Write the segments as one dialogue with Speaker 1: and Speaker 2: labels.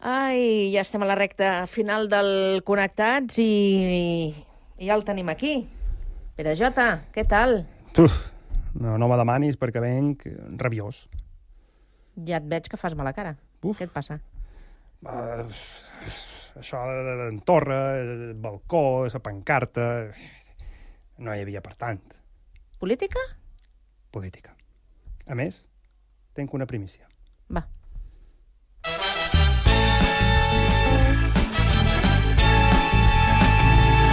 Speaker 1: Ai, ja estem a la recta final del Connectats i, i ja el tenim aquí. Pere Jota, què tal?
Speaker 2: Uf, no, no me demanis perquè venc rabiós.
Speaker 1: Ja et veig que fas mala cara.
Speaker 2: Uf.
Speaker 1: Què et passa?
Speaker 2: Uh, això de- de- d'en Torra, el balcó, la pancarta... No hi havia, per tant,
Speaker 1: Política?
Speaker 2: política. A més, tenc una primícia.
Speaker 1: Va.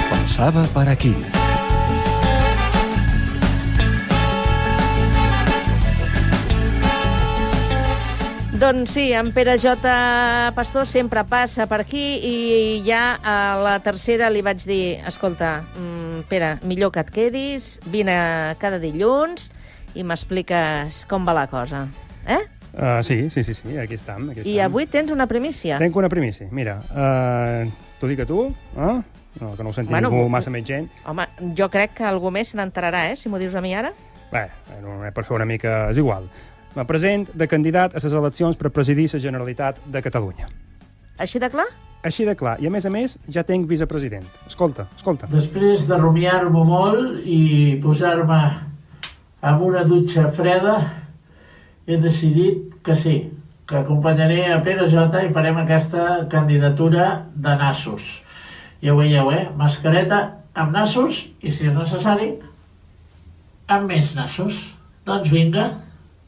Speaker 3: Pasaba para aquí.
Speaker 1: Doncs sí, en Pere Jota Pastor sempre passa per aquí i ja a la tercera li vaig dir, escolta, mm, Pere, millor que et quedis, vine cada dilluns i m'expliques com va la cosa. Eh?
Speaker 2: Uh, sí, sí, sí, sí, aquí estem. Aquí
Speaker 1: I
Speaker 2: estem.
Speaker 1: avui tens una primícia.
Speaker 2: Tenc una primícia. Mira, uh, t'ho dic a tu, eh? No, que no ho senti
Speaker 1: Bueno,
Speaker 2: bueno, ningú massa més gent.
Speaker 1: Home, jo crec que algú més se n'entrarà, eh, si m'ho dius a mi ara.
Speaker 2: Bé, no, per fer una mica és igual. Me present de candidat a les eleccions per presidir la Generalitat de Catalunya.
Speaker 1: Així de clar?
Speaker 2: Així de clar. I a més a més, ja tenc vicepresident. Escolta, escolta.
Speaker 4: Després de rumiar-ho molt i posar-me en una dutxa freda, he decidit que sí, que acompanyaré a Pere Jota i farem aquesta candidatura de nassos. Ja ho veieu, eh? Mascareta amb nassos i, si és necessari, amb més nassos. Doncs vinga,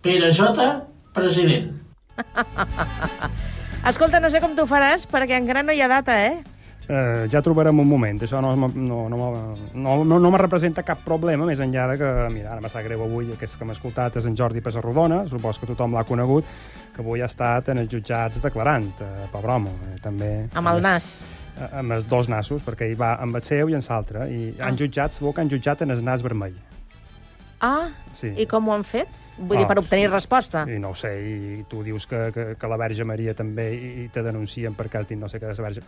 Speaker 4: Pere Jota, president.
Speaker 1: Escolta, no sé com t'ho faràs, perquè encara no hi ha data, eh?
Speaker 2: Eh, ja trobarem un moment. Això no, no, no, no, no, no, no me representa cap problema, més enllà de que, mira, ara me sap greu avui, aquest que m'ha escoltat és en Jordi Pessarrodona, supos que tothom l'ha conegut, que avui ha estat en els jutjats declarant, eh, pobre home, eh, també...
Speaker 1: Amb el nas.
Speaker 2: Eh, amb els dos nassos, perquè hi va amb el seu i en l'altre, i han jutjat, segur que han jutjat en el nas vermell.
Speaker 1: Ah,
Speaker 2: Sí.
Speaker 1: i com ho han fet? Vull dir,
Speaker 2: Ah,
Speaker 1: per obtenir
Speaker 2: sí.
Speaker 1: resposta.
Speaker 2: I no ho sé, i tu dius que, que, que la Verge Maria també i, i te denuncien perquè has dit no sé què de la Verge...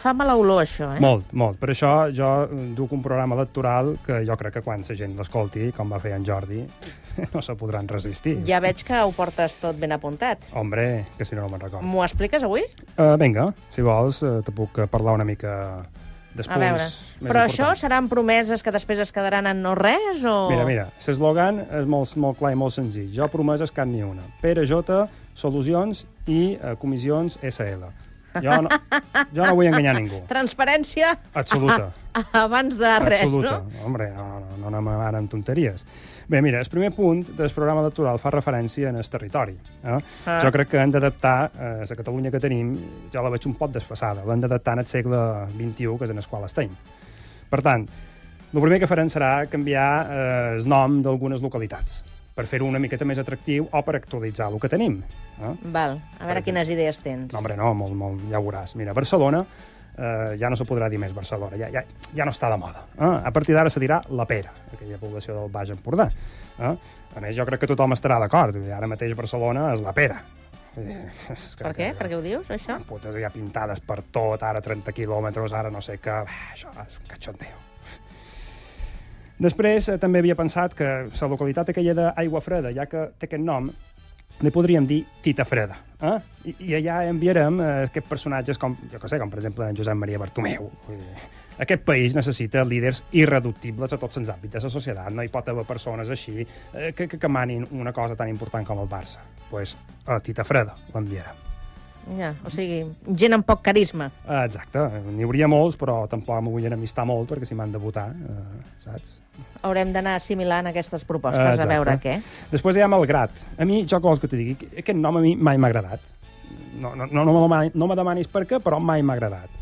Speaker 1: Fa mala olor, això, eh?
Speaker 2: Molt, molt. Per això jo eh, duc un programa electoral que jo crec que quan la gent l'escolti, com va fer en Jordi, no se podran resistir.
Speaker 1: Ja veig que ho portes tot ben apuntat.
Speaker 2: Hombre, que si no, no me'n recordo.
Speaker 1: M'ho expliques avui?
Speaker 2: Uh, vinga, si vols, uh, te puc eh, parlar una mica
Speaker 1: A
Speaker 2: després.
Speaker 1: veure. Però això seran promeses que després es quedaran en no res o...?
Speaker 2: Mira, mira, l'eslògan és molt, molt clar i molt senzill. Jo promeses cap ni una. Pere J, solucions i eh, comissions SL. Jo no, jo no vull enganyar ningú.
Speaker 1: Transparència
Speaker 2: Absoluta.
Speaker 1: abans de res,
Speaker 2: Absoluta.
Speaker 1: no?
Speaker 2: Hombre, no, no, no anem ara amb tonteries. Bé, mira, el primer punt del programa electoral fa referència en el territori. Eh?
Speaker 1: Ah.
Speaker 2: Ah. Jo crec que hem d'adaptar eh, la Catalunya que tenim, jo la veig un poc desfassada, l'hem d'adaptar en el segle XXI, que és en el qual estem. Per tant, el primer que farem serà canviar eh, el nom d'algunes localitats per fer-ho una miqueta més atractiu o per actualitzar el que tenim. Eh?
Speaker 1: Val, a veure
Speaker 2: exemple.
Speaker 1: quines idees tens.
Speaker 2: No, hombre, no, molt, molt, ja ho veuràs. Mira, Barcelona eh, ja no se podrà dir més Barcelona, ja, ja, ja no està de moda. Eh? A partir d'ara se dirà la Pera, aquella població del Baix Empordà. Eh? A més, jo crec que tothom estarà d'acord. Vull dir, Ara mateix Barcelona és la Pera. Vull dir, és que-
Speaker 1: Per què? Per què ho dius, això?
Speaker 2: Putes ja pintades per tot, ara 30 quilòmetres, ara no sé què... Bé, això és un cachondeo. Després eh, també havia pensat que la localitat aquella d'Aigua Freda, ja que té aquest nom, li podríem dir Tita Freda. Eh? I, I allà enviarem eh, aquests personatges com, jo que sé, com per exemple en Josep Maria Bartomeu. Vull dir, aquest país necessita líders irreductibles a tots els àmbits de la societat. No hi pot haver persones així eh, que, que, que manin una cosa tan important com el Barça. Doncs pues, a Tita Freda l'enviarem.
Speaker 1: Ja, o sigui, gent amb poc carisma.
Speaker 2: Eh, Exacte, n'hi hauria molts, però tampoc m'ho vull enamistar molt, perquè si m'han de votar, eh, saps?
Speaker 1: Haurem d'anar assimilant aquestes
Speaker 2: Eh,
Speaker 1: propostes, a
Speaker 2: exacte.
Speaker 1: veure què.
Speaker 2: Després hi ha Malgrat. A mi, jo què vols que t'hi digui, aquest nom a mi mai m'ha agradat. No, no, no, no, me demani- no me demanis per què, però mai m'ha agradat.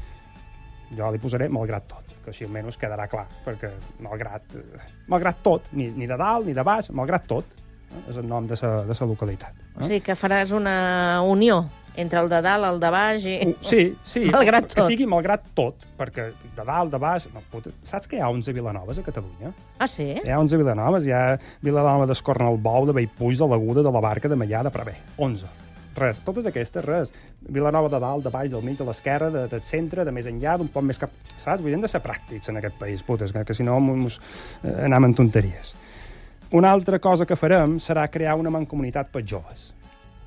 Speaker 2: Jo li posaré malgrat tot, que així almenys quedarà clar, perquè malgrat, eh, malgrat tot, ni, ni de dalt ni de baix, malgrat tot, eh, és el nom de sa, de sa localitat.
Speaker 1: O sigui que faràs una unió entre el de dalt, el de baix i...
Speaker 2: Uh, Sí, sí.
Speaker 1: Malgrat
Speaker 2: Que
Speaker 1: tot.
Speaker 2: sigui malgrat tot, perquè de dalt, de baix... no, puta, Saps que hi ha 11 Vilanoves a Catalunya?
Speaker 1: Ah, sí?
Speaker 2: Hi ha 11 Vilanoves, hi ha Vilanova d'Escornalbou, de Bellpuig, de l'Aguda, de la Barca, de Mallà, de Prevé. 11. Res. Totes aquestes, res. Vilanova de dalt, de baix, del mig, de l'esquerra, de, del centre, de més enllà, d'un poc més cap... Saps? Vull dir, hem de ser pràctics en aquest país, putes, que, que si no mos, eh, anem en tonteries. Una altra cosa que farem serà crear una mancomunitat per joves.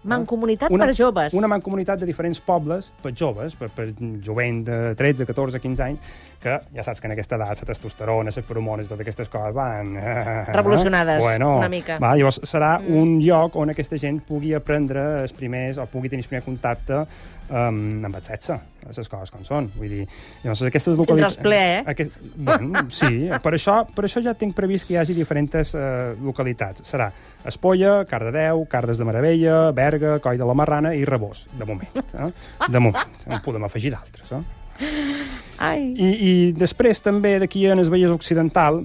Speaker 1: Mancomunitat una, per joves.
Speaker 2: Una mancomunitat de diferents pobles, per joves, per, per jovent de 13, 14, 15 anys, que ja saps que en aquesta edat la testosterona, les feromones, totes aquestes coses van... eh,
Speaker 1: Revolucionades, una mica.
Speaker 2: Va, llavors serà mm. un lloc on aquesta gent pugui aprendre els primers, o pugui tenir el primer contacte um, amb el sexe, les coses com són. Vull dir, llavors, aquestes
Speaker 1: Tindràs plaer, eh?
Speaker 2: Aquest, bueno, sí, per això, per això ja tinc previst que hi hagi diferents eh, localitats. Serà Espolla, Cardedeu, Cardes de Meravella, Berga, Coll de la Marrana i Rebós, de moment. Eh? De moment. En podem afegir d'altres, eh?
Speaker 1: Ai.
Speaker 2: I, I després també d'aquí en el Vallès Occidental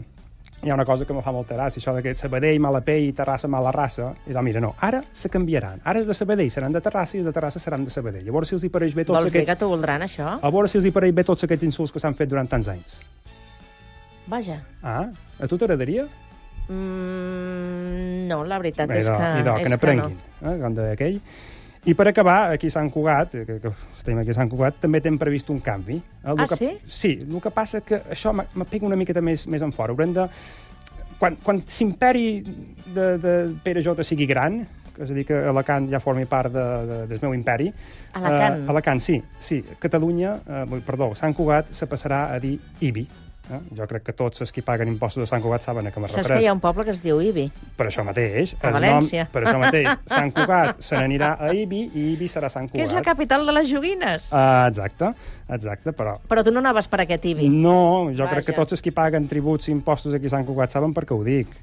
Speaker 2: hi ha una cosa que me fa molta gràcia, això d'aquest Sabadell, mala pell i Terrassa, mala raça. I doncs, mira, no, ara se canviaran. Ara els de Sabadell seran de Terrassa i els de Terrassa seran de Sabadell. Llavors, si els hi pareix bé tots
Speaker 1: Vols dir
Speaker 2: aquests... Ah.
Speaker 1: que t'ho voldran, això?
Speaker 2: A veure si els hi pareix bé tots aquests insults que s'han fet durant tants anys.
Speaker 1: Vaja.
Speaker 2: Ah, a tu t'agradaria?
Speaker 1: Mm, no, la veritat
Speaker 2: Bé,
Speaker 1: és
Speaker 2: idò,
Speaker 1: que...
Speaker 2: idò,
Speaker 1: és
Speaker 2: que n'aprenguin, no. eh, com deia aquell. I per acabar, aquí a Sant Cugat, eh, que, que estem aquí a Sant Cugat, també t'hem previst un canvi. Eh, el
Speaker 1: Ah,
Speaker 2: que,
Speaker 1: sí?
Speaker 2: Sí, el que passa que això me me pega una miqueta més, més en fora. Haurem de... Quan, quan s'imperi de, de Pere Jota sigui gran, és a dir, que Alacant ja formi part de, de, del meu imperi...
Speaker 1: Alacant.
Speaker 2: Eh, Alacant, sí, sí. Catalunya, eh, vull- perdó, Sant Cugat se passarà a dir Ibi. Eh? Jo crec que tots els qui paguen impostos de Sant Cugat saben a què me
Speaker 1: Saps
Speaker 2: refereixo.
Speaker 1: que hi ha un poble que es diu Ibi?
Speaker 2: Per això mateix.
Speaker 1: A
Speaker 2: el
Speaker 1: València.
Speaker 2: Nom, per això mateix. Sant Cugat se n'anirà a Ibi i Ibi serà Sant Cugat.
Speaker 1: Que és la capital de les joguines. Ah.
Speaker 2: Ah, exacte, exacte, però...
Speaker 1: Però tu no anaves per aquest Ibi.
Speaker 2: Mm. No, jo crec
Speaker 1: Vaja.
Speaker 2: que tots els qui paguen tributs i impostos aquí a Sant Cugat saben per què ho dic.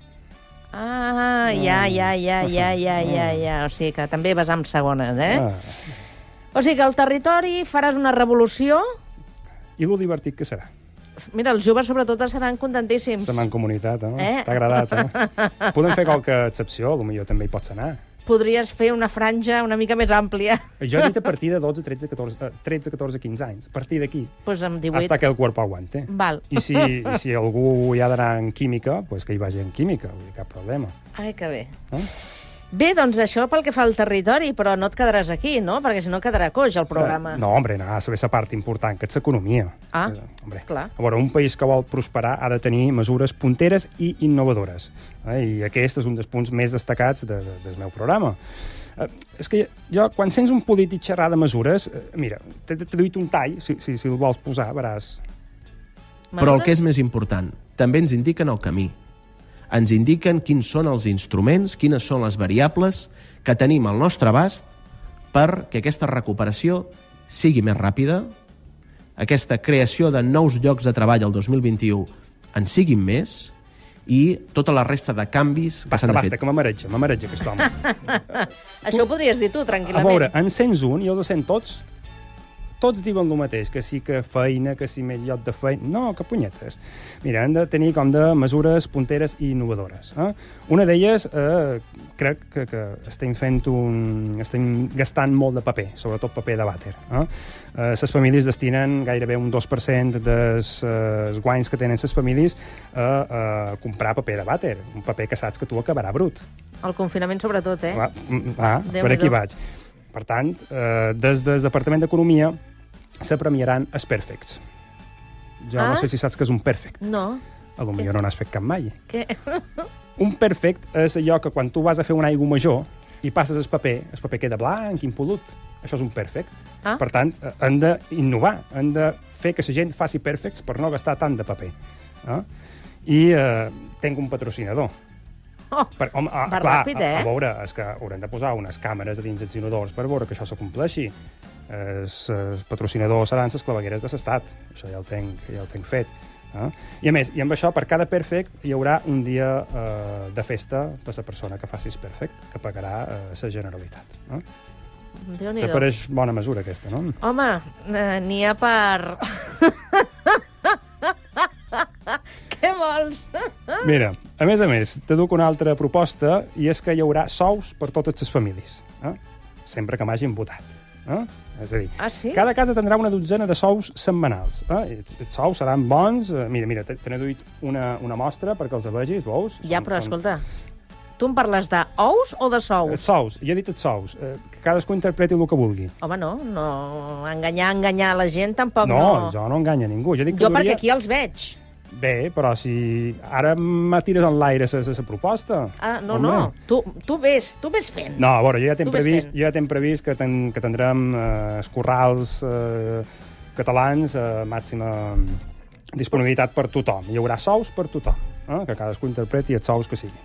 Speaker 1: Ah, ja, ja, ja, ja, ja, ja, ja. O sigui que també vas amb segones, eh?
Speaker 2: Mm. Ah.
Speaker 1: O sigui que al territori faràs una revolució...
Speaker 2: I lo divertit que serà.
Speaker 1: Mira, els joves sobretot els seran contentíssims.
Speaker 2: Se m'han comunitat, eh?
Speaker 1: Eh?
Speaker 2: T'ha agradat, eh? Podem fer qualque excepció, potser també hi pots anar.
Speaker 1: Podries fer una franja una mica més àmplia.
Speaker 2: Jo he dit a partir de 12, 13, 14, eh, 13, 14, 15 anys. A partir d'aquí,
Speaker 1: Doncs pues amb 18.
Speaker 2: hasta que el cuerpo aguante.
Speaker 1: Val.
Speaker 2: I si, i si algú hi ha d'anar en química, pues que hi vagi en química, vull dir, cap problema.
Speaker 1: Ai, que bé.
Speaker 2: Eh?
Speaker 1: Bé, doncs això pel que fa al territori, però no et quedaràs aquí, no? Perquè si no quedarà coix el programa.
Speaker 2: Eh, No, hombre, no, saber la part important, que és l'economia.
Speaker 1: Ah,
Speaker 2: Eh, hombre.
Speaker 1: clar.
Speaker 2: A veure, un país que vol prosperar ha de tenir mesures punteres i innovadores. Eh? I aquest és un dels punts més destacats de, de, del meu programa. Eh, és que jo, quan sents un polític xerrar de mesures, eh, mira, t'he t'he traduït un tall, si, si, si el vols posar, veràs.
Speaker 5: Però el que és més important, també ens indiquen el camí. Ens indiquen quins són els instruments, quines són les variables que tenim al nostre abast perquè aquesta recuperació sigui més ràpida, aquesta creació de nous llocs de treball el 2021 en siguin més i tota la resta de canvis que
Speaker 2: Basta,
Speaker 5: s'han de
Speaker 2: basta,
Speaker 5: fer.
Speaker 2: que m'amaretja, m'amaretja aquest home.
Speaker 1: Això ho podries dir tu,
Speaker 2: A
Speaker 1: tranquil·lament.
Speaker 2: veure, en sents un i els sent tots, tots diuen el mateix, que sí que feina, que sí més lloc de feina... No, que punyetes. Mira, hem de tenir com de mesures punteres i innovadores. Eh? Una d'elles, eh, crec que, que estem fent un... estem gastant molt de paper, sobretot paper de vàter. Eh? Eh, ses famílies destinen gairebé un 2% dels eh, guanys que tenen ses famílies a, a comprar paper de vàter, un paper que saps que tu acabarà brut.
Speaker 1: El confinament sobretot, eh?
Speaker 2: Va, mm, ah,
Speaker 1: Déu-n'hi-do.
Speaker 2: per aquí vaig. Per tant, eh, des del Departament d'Economia se premiaran els perfects. Jo
Speaker 1: Ah?
Speaker 2: no sé si saps que és un perfect.
Speaker 1: No.
Speaker 2: A lo millor no n'has fet cap mai.
Speaker 1: Que...
Speaker 2: Un perfect és allò que quan tu vas a fer un aigua major i passes el paper, el paper queda blanc, impolut. Això és un perfect.
Speaker 1: Ah.
Speaker 2: Per tant, eh, hem d'innovar, hem de fer que la gent faci perfects per no gastar tant de paper. Eh? I eh, tinc un patrocinador.
Speaker 1: Oh,
Speaker 2: Per, home, a,
Speaker 1: Va
Speaker 2: clar,
Speaker 1: ràpid,
Speaker 2: a,
Speaker 1: eh?
Speaker 2: a veure, és que hauran de posar unes càmeres a dins dels inodors per veure que això s'acompleixi. Els eh, patrocinadors seran les clavegueres de l'estat. Això ja ho tenc, ja ho tenc fet. Eh? I a més, i amb això, per cada perfect hi haurà un dia eh, de festa per la persona que facis perfect, que pagarà eh, la Generalitat. Eh?
Speaker 1: Déu-n'hi-do.
Speaker 2: T'apareix bona mesura aquesta, no?
Speaker 1: Home, eh, n'hi ha per... Què vols? Ah.
Speaker 2: Mira, a més a més, te duc una altra proposta i és que hi haurà sous per totes les famílies, eh? sempre que m'hagin votat. Eh? És a dir,
Speaker 1: Ah, sí?
Speaker 2: cada casa tindrà una dotzena de sous setmanals. Eh? Els- Els sous seran bons. eh, Mira, mira, t'he t'he traduït una, una mostra perquè els vegis, veus?
Speaker 1: Ja, però
Speaker 2: Són- són-
Speaker 1: escolta, tu em parles d'ous o de sous?
Speaker 2: Els sous, jo he dit els sous. Eh, que cadascú interpreti el que vulgui.
Speaker 1: Home, no, no. Enganyar, enganyar la gent tampoc
Speaker 2: no,
Speaker 1: Oh, no.
Speaker 2: jo no enganyo ningú. Jo, dic que
Speaker 1: jo
Speaker 2: hi hauria...
Speaker 1: perquè aquí els veig.
Speaker 2: Bé, però si ara me tires en l'aire la proposta...
Speaker 1: Ah, no,
Speaker 2: home.
Speaker 1: no. Tu, tu vés, tu vés fent.
Speaker 2: No, a veure, jo ja
Speaker 1: Tu
Speaker 2: tenc
Speaker 1: ves
Speaker 2: previst,
Speaker 1: fent.
Speaker 2: jo ja tenc previst que, ten, que tindrem eh, els corrals eh, catalans eh, màxima disponibilitat per tothom. Hi haurà sous per tothom, eh? que cadascú interpreti els sous que sigui.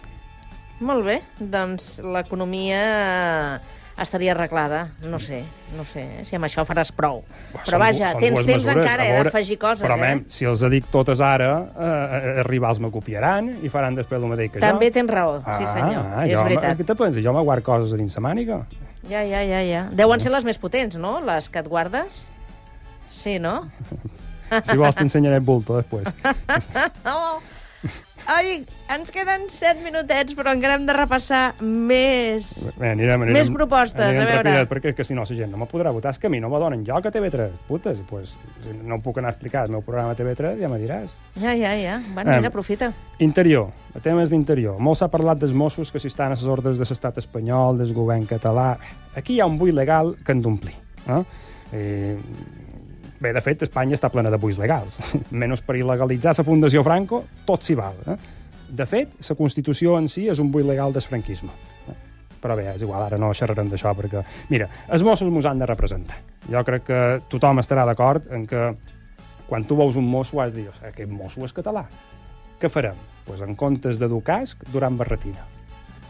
Speaker 1: Molt bé, doncs l'economia estaria arreglada. No sé, no sé eh, si amb això faràs prou.
Speaker 2: Buah,
Speaker 1: Però
Speaker 2: són du-
Speaker 1: vaja,
Speaker 2: són
Speaker 1: tens
Speaker 2: dues
Speaker 1: temps
Speaker 2: mesures,
Speaker 1: encara
Speaker 2: a
Speaker 1: eh,
Speaker 2: veure,
Speaker 1: d'afegir coses,
Speaker 2: Però,
Speaker 1: eh?
Speaker 2: mem, si els dic totes ara, eh, eh, els rivals me copiaran i faran després el mateix que
Speaker 1: També
Speaker 2: jo.
Speaker 1: tens raó, sí senyor,
Speaker 2: Ah,
Speaker 1: és
Speaker 2: jo,
Speaker 1: veritat.
Speaker 2: Què te penses? Jo me guard coses a dins la màniga?
Speaker 1: Ja, ja, ja, ja. Deuen ser les més potents, no?, les que et guardes? Sí, no?
Speaker 2: Si vols t'ensenyaré el bulto després.
Speaker 1: Oh. Ai, ens queden set minutets, però encara hem de repassar més.
Speaker 2: Bé, anirem, anirem,
Speaker 1: Més propostes,
Speaker 2: anirem
Speaker 1: a veure.
Speaker 2: Rapidet, perquè és que si no, la gent no me podrà votar. És que a mi no me donen lloc a TV3. Putes, pues, si no em puc anar a explicar el meu programa a TV3, ja me diràs.
Speaker 1: Ja, ja, ja. Bueno,
Speaker 2: Em.
Speaker 1: mira, aprofita.
Speaker 2: Interior, a temes d'interior. Molt s'ha parlat dels Mossos que si estan a les ordres de l'estat espanyol, del govern català... Aquí hi ha un buit legal que hem d'omplir. Eh? Eh, bé, de fet, Espanya està plena de buits legals. Menys per il·legalitzar la Fundació Franco, tot s'hi val. Eh? De fet, la Constitució en si és un buit legal del franquisme. Eh? Però bé, és igual, ara no xerrarem d'això perquè... Mira, els Mossos mos han de representar. Jo crec que tothom estarà d'acord en que quan tu veus un mosso has de dir, "Ostres, aquest mosso és català. Què farem? Pues en comptes de dur casc, duran barretina.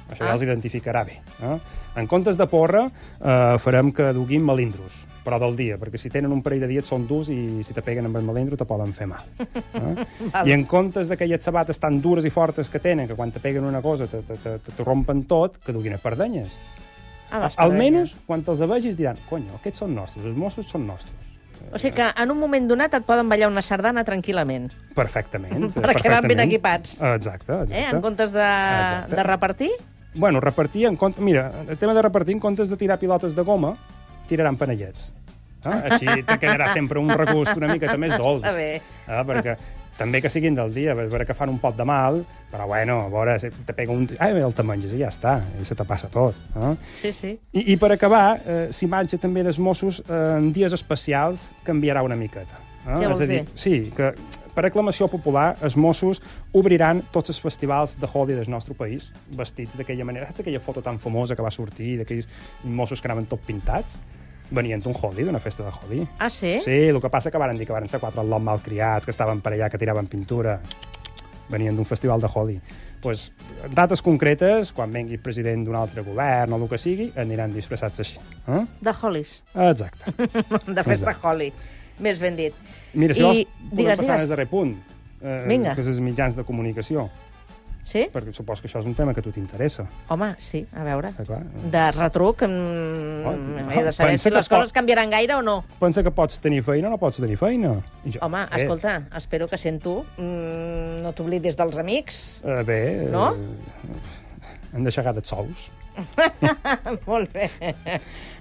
Speaker 2: Això
Speaker 1: Ah.
Speaker 2: ja els identificarà bé. Eh? En comptes de porra, eh, farem que duguin melindros, però del dia, perquè si tenen un parell de dies són durs i si te peguen amb el melindro te poden fer mal. Eh? I en comptes d'aquelles sabates tan dures i fortes que tenen, que quan te peguen una cosa te, te, te, te, te rompen tot, que duguin espardenyes.
Speaker 1: A les
Speaker 2: Almenys, quan te'ls vegis, diran, conyo, aquests són nostres, els Mossos són nostres.
Speaker 1: O sigui que en un moment donat et poden ballar una sardana tranquil·lament,
Speaker 2: Perfectament.
Speaker 1: Perquè van
Speaker 2: perfectament.
Speaker 1: ben equipats.
Speaker 2: Exacte, exacte.
Speaker 1: eh? en comptes de,
Speaker 2: Exacte.
Speaker 1: de repartir.
Speaker 2: Bueno, repartir en compte... Mira, el tema de repartir, en comptes de tirar pilotes de goma, tiraran panellets. Eh? Així te quedarà sempre un regust una miqueta més dolç.
Speaker 1: Està bé.
Speaker 2: Eh? Perquè també que siguin del dia, perquè que fan un pot de mal, però bueno, a veure, si te pega un... Ah, el te menges i ja està, i se te passa tot. Eh?
Speaker 1: Sí, sí.
Speaker 2: I, I per acabar, eh, s'imatge també dels Mossos eh, en dies especials canviarà una miqueta. Eh?
Speaker 1: Què vols
Speaker 2: És a dir,
Speaker 1: dir?
Speaker 2: sí, que per aclamació popular els Mossos obriran tots els festivals de Holi del nostre país vestits d'aquella manera. Saps aquella foto tan famosa que va sortir d'aquells Mossos que anaven tot pintats? Venien d'un Holi, d'una festa de Holi.
Speaker 1: Ah, sí?
Speaker 2: Sí, el que passa que varen dir que varen ser quatre al·lot malcriats, que estaven per allà, que tiraven pintura. Venien d'un festival de Holi. Pues, en dates concretes, quan vengui el president d'un altre govern o el que sigui, aniran disfressats així. Eh?
Speaker 1: De holis.
Speaker 2: Exacte.
Speaker 1: de festa
Speaker 2: Exacte.
Speaker 1: holi. Més ben dit.
Speaker 2: Mira, si
Speaker 1: I-
Speaker 2: vols, podem
Speaker 1: digues,
Speaker 2: passar
Speaker 1: digues.
Speaker 2: al darrer punt. Eh,
Speaker 1: Vinga.
Speaker 2: Que és els mitjans de comunicació.
Speaker 1: Sí?
Speaker 2: Perquè supos que això és un tema que a tu t'interessa.
Speaker 1: Home, sí, a veure.
Speaker 2: eh, clar.
Speaker 1: De retruc, mm,
Speaker 2: Oh,
Speaker 1: he de saber
Speaker 2: pensa
Speaker 1: si
Speaker 2: que
Speaker 1: les
Speaker 2: pot-
Speaker 1: coses canviaran gaire o no.
Speaker 2: Pensa que pots tenir feina o no pots tenir feina. I Jo, eh,
Speaker 1: Home, escolta, espero que sent tu mm, no t'oblidis dels amics.
Speaker 2: Eh, bé, eh,
Speaker 1: No?
Speaker 2: hem d'aixegat els sous.
Speaker 1: Molt bé.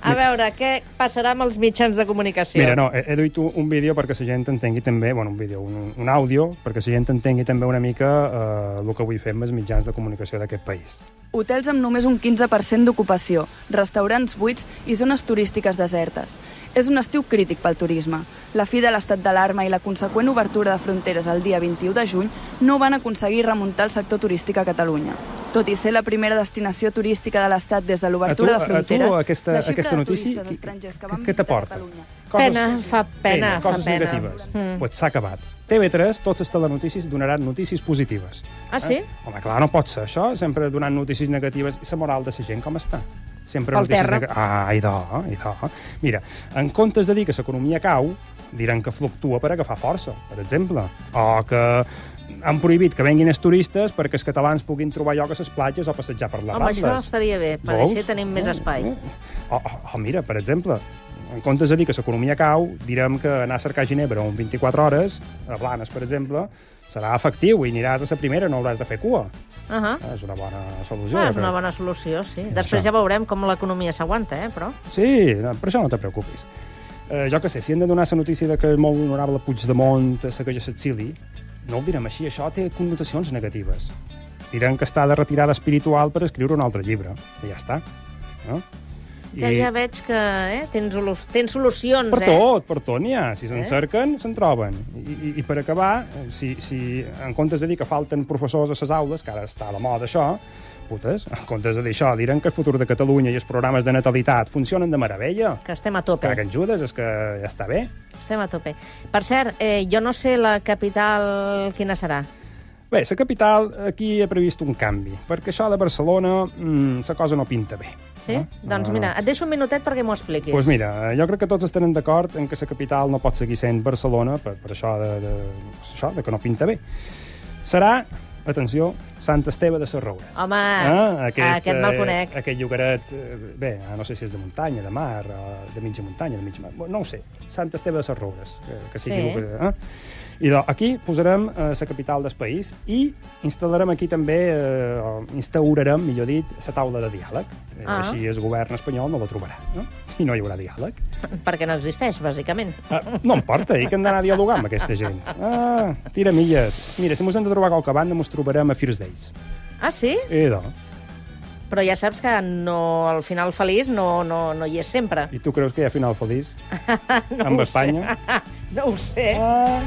Speaker 1: A veure, què passarà amb els mitjans de comunicació?
Speaker 2: Mira, no, he, he duit un un vídeo perquè la gent entengui també, bueno, un vídeo, un, un àudio, perquè la gent entengui també una mica eh, el que avui fem els mitjans de comunicació d'aquest país.
Speaker 6: Hotels amb només un 15% d'ocupació, restaurants buits i zones turístiques desertes. És un estiu crític pel turisme. La fi de l'estat d'alarma i la conseqüent obertura de fronteres el dia 21 de juny no van aconseguir remuntar el sector turístic a Catalunya. Tot i ser la primera destinació turística de l'estat des de l'obertura
Speaker 2: a
Speaker 6: de
Speaker 2: tu
Speaker 6: fronteres,
Speaker 2: aquesta,
Speaker 6: la xifra
Speaker 2: aquesta
Speaker 6: de
Speaker 2: notícia,
Speaker 6: turistes
Speaker 2: qui-
Speaker 6: estrangers que
Speaker 2: qui-
Speaker 6: van
Speaker 2: què
Speaker 6: visitar
Speaker 2: t'aporta?
Speaker 6: Catalunya
Speaker 1: Pena, fa pena, fa
Speaker 2: coses
Speaker 1: pena.
Speaker 2: negatives. Mm. Pues s'ha acabat. TV3, tots els telenotícies donaran notícies positives. Eh?
Speaker 1: Ah, sí?
Speaker 2: Home, clar, no pot ser això, sempre donant notícies negatives. I la moral de la gent com està? Sempre
Speaker 1: Pel
Speaker 2: notícies
Speaker 1: terra.
Speaker 2: nega- Ah, idò, idò. Mira, en comptes de dir que l'economia cau, diran que fluctua per agafar força, per exemple. O que han prohibit que venguin els turistes perquè els catalans puguin trobar lloc a les platges o passejar per les
Speaker 1: Home,
Speaker 2: Rambles.
Speaker 1: això estaria bé, per
Speaker 2: Veus?
Speaker 1: així tenim
Speaker 2: Oh,
Speaker 1: més espai.
Speaker 2: O, o, o oh, mira, per exemple, en comptes de dir que l'economia cau, direm que anar a cercar Ginebra un 24 hores, a Blanes, per exemple, serà efectiu i aniràs a la primera, no hauràs de fer cua.
Speaker 1: Uh -huh.
Speaker 2: És una bona solució.
Speaker 1: Ah,
Speaker 2: jo
Speaker 1: és una
Speaker 2: crec.
Speaker 1: bona solució, sí. Després ja
Speaker 2: això.
Speaker 1: veurem com l'economia s'aguanta, eh, però...
Speaker 2: Sí, no, per això no te preocupis. Eh, jo que sé, si hem de donar la notícia de que el molt honorable Puigdemont eh, segueix a l'exili, no ho direm així, això té connotacions negatives. Diran que està de retirada espiritual per escriure un altre llibre. I ja està. No?
Speaker 1: Ja, ja veig que eh, tens, solu tens solucions,
Speaker 2: Per
Speaker 1: eh?
Speaker 2: tot, per tot n'hi ha. Si se'n
Speaker 1: Eh?
Speaker 2: cerquen, se'n troben. I, i, I per acabar, eh, si, si en comptes de dir que falten professors a les aules, que ara està a la moda això, putes, en comptes de dir això, diran que el futur de Catalunya i els programes de natalitat funcionen de meravella.
Speaker 1: Que estem a tope.
Speaker 2: Cara que en Judes, és que ja està bé.
Speaker 1: Estem a tope. Per cert, eh, jo no sé la capital quina serà.
Speaker 2: Bé, la capital aquí ha previst un canvi, perquè això de Barcelona, mm, la cosa no pinta bé.
Speaker 1: Sí?
Speaker 2: Eh?
Speaker 1: Doncs
Speaker 2: Ah.
Speaker 1: mira, et deixo un minutet perquè m'ho expliquis.
Speaker 2: Doncs pues mira, eh, jo crec que tots estaran d'acord en que la capital no pot seguir sent Barcelona per, per això, de, de, això de que no pinta bé. Serà, atenció, Sant Esteve de Sarroures. Ah, eh,
Speaker 1: Home, aquest me'l conec.
Speaker 2: Aquest llogaret, eh, bé, no sé si és de muntanya, de mar, o de mitja muntanya, de mitja mar, no ho sé. Sant Esteve de Sarroures, que, que sigui...
Speaker 1: Sí.
Speaker 2: Sí. Eh? I doncs, aquí posarem eh, la capital del país i instal·larem aquí també, eh, o instaurarem, millor dit, la taula de diàleg. Eh,
Speaker 1: Ah.
Speaker 2: Així el govern espanyol no la trobarà, no? I no hi haurà diàleg.
Speaker 1: Perquè no existeix, bàsicament.
Speaker 2: Ah, no em porta, i que hem d'anar a dialogar amb aquesta gent. Ah, tira milles. Mira, si mos hem de trobar a qualque banda, mos trobarem a First Days.
Speaker 1: Ah, sí?
Speaker 2: I, do,
Speaker 1: Però ja saps que no, al final feliç no, no, no hi és sempre.
Speaker 2: I tu creus que hi ha final feliç?
Speaker 1: No
Speaker 2: amb
Speaker 1: ho
Speaker 2: Espanya?
Speaker 1: Sé. no ho sé.
Speaker 2: Ah,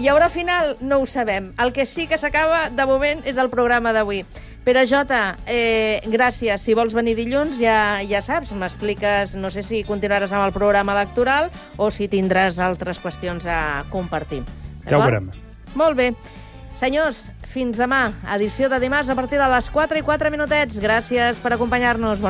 Speaker 1: Hi haurà final? No ho sabem. El que sí que s'acaba, de moment, és el programa d'avui. Pere Jota, eh, gràcies. Si vols venir dilluns, ja, ja saps, m'expliques, no sé si continuaràs amb el programa electoral o si tindràs altres qüestions a compartir.
Speaker 2: ja ho
Speaker 1: D'acord?
Speaker 2: veurem.
Speaker 1: Molt bé. Senyors, fins demà. Edició de dimarts a partir de les 4 i 4 minutets. Gràcies per acompanyar-nos. Bon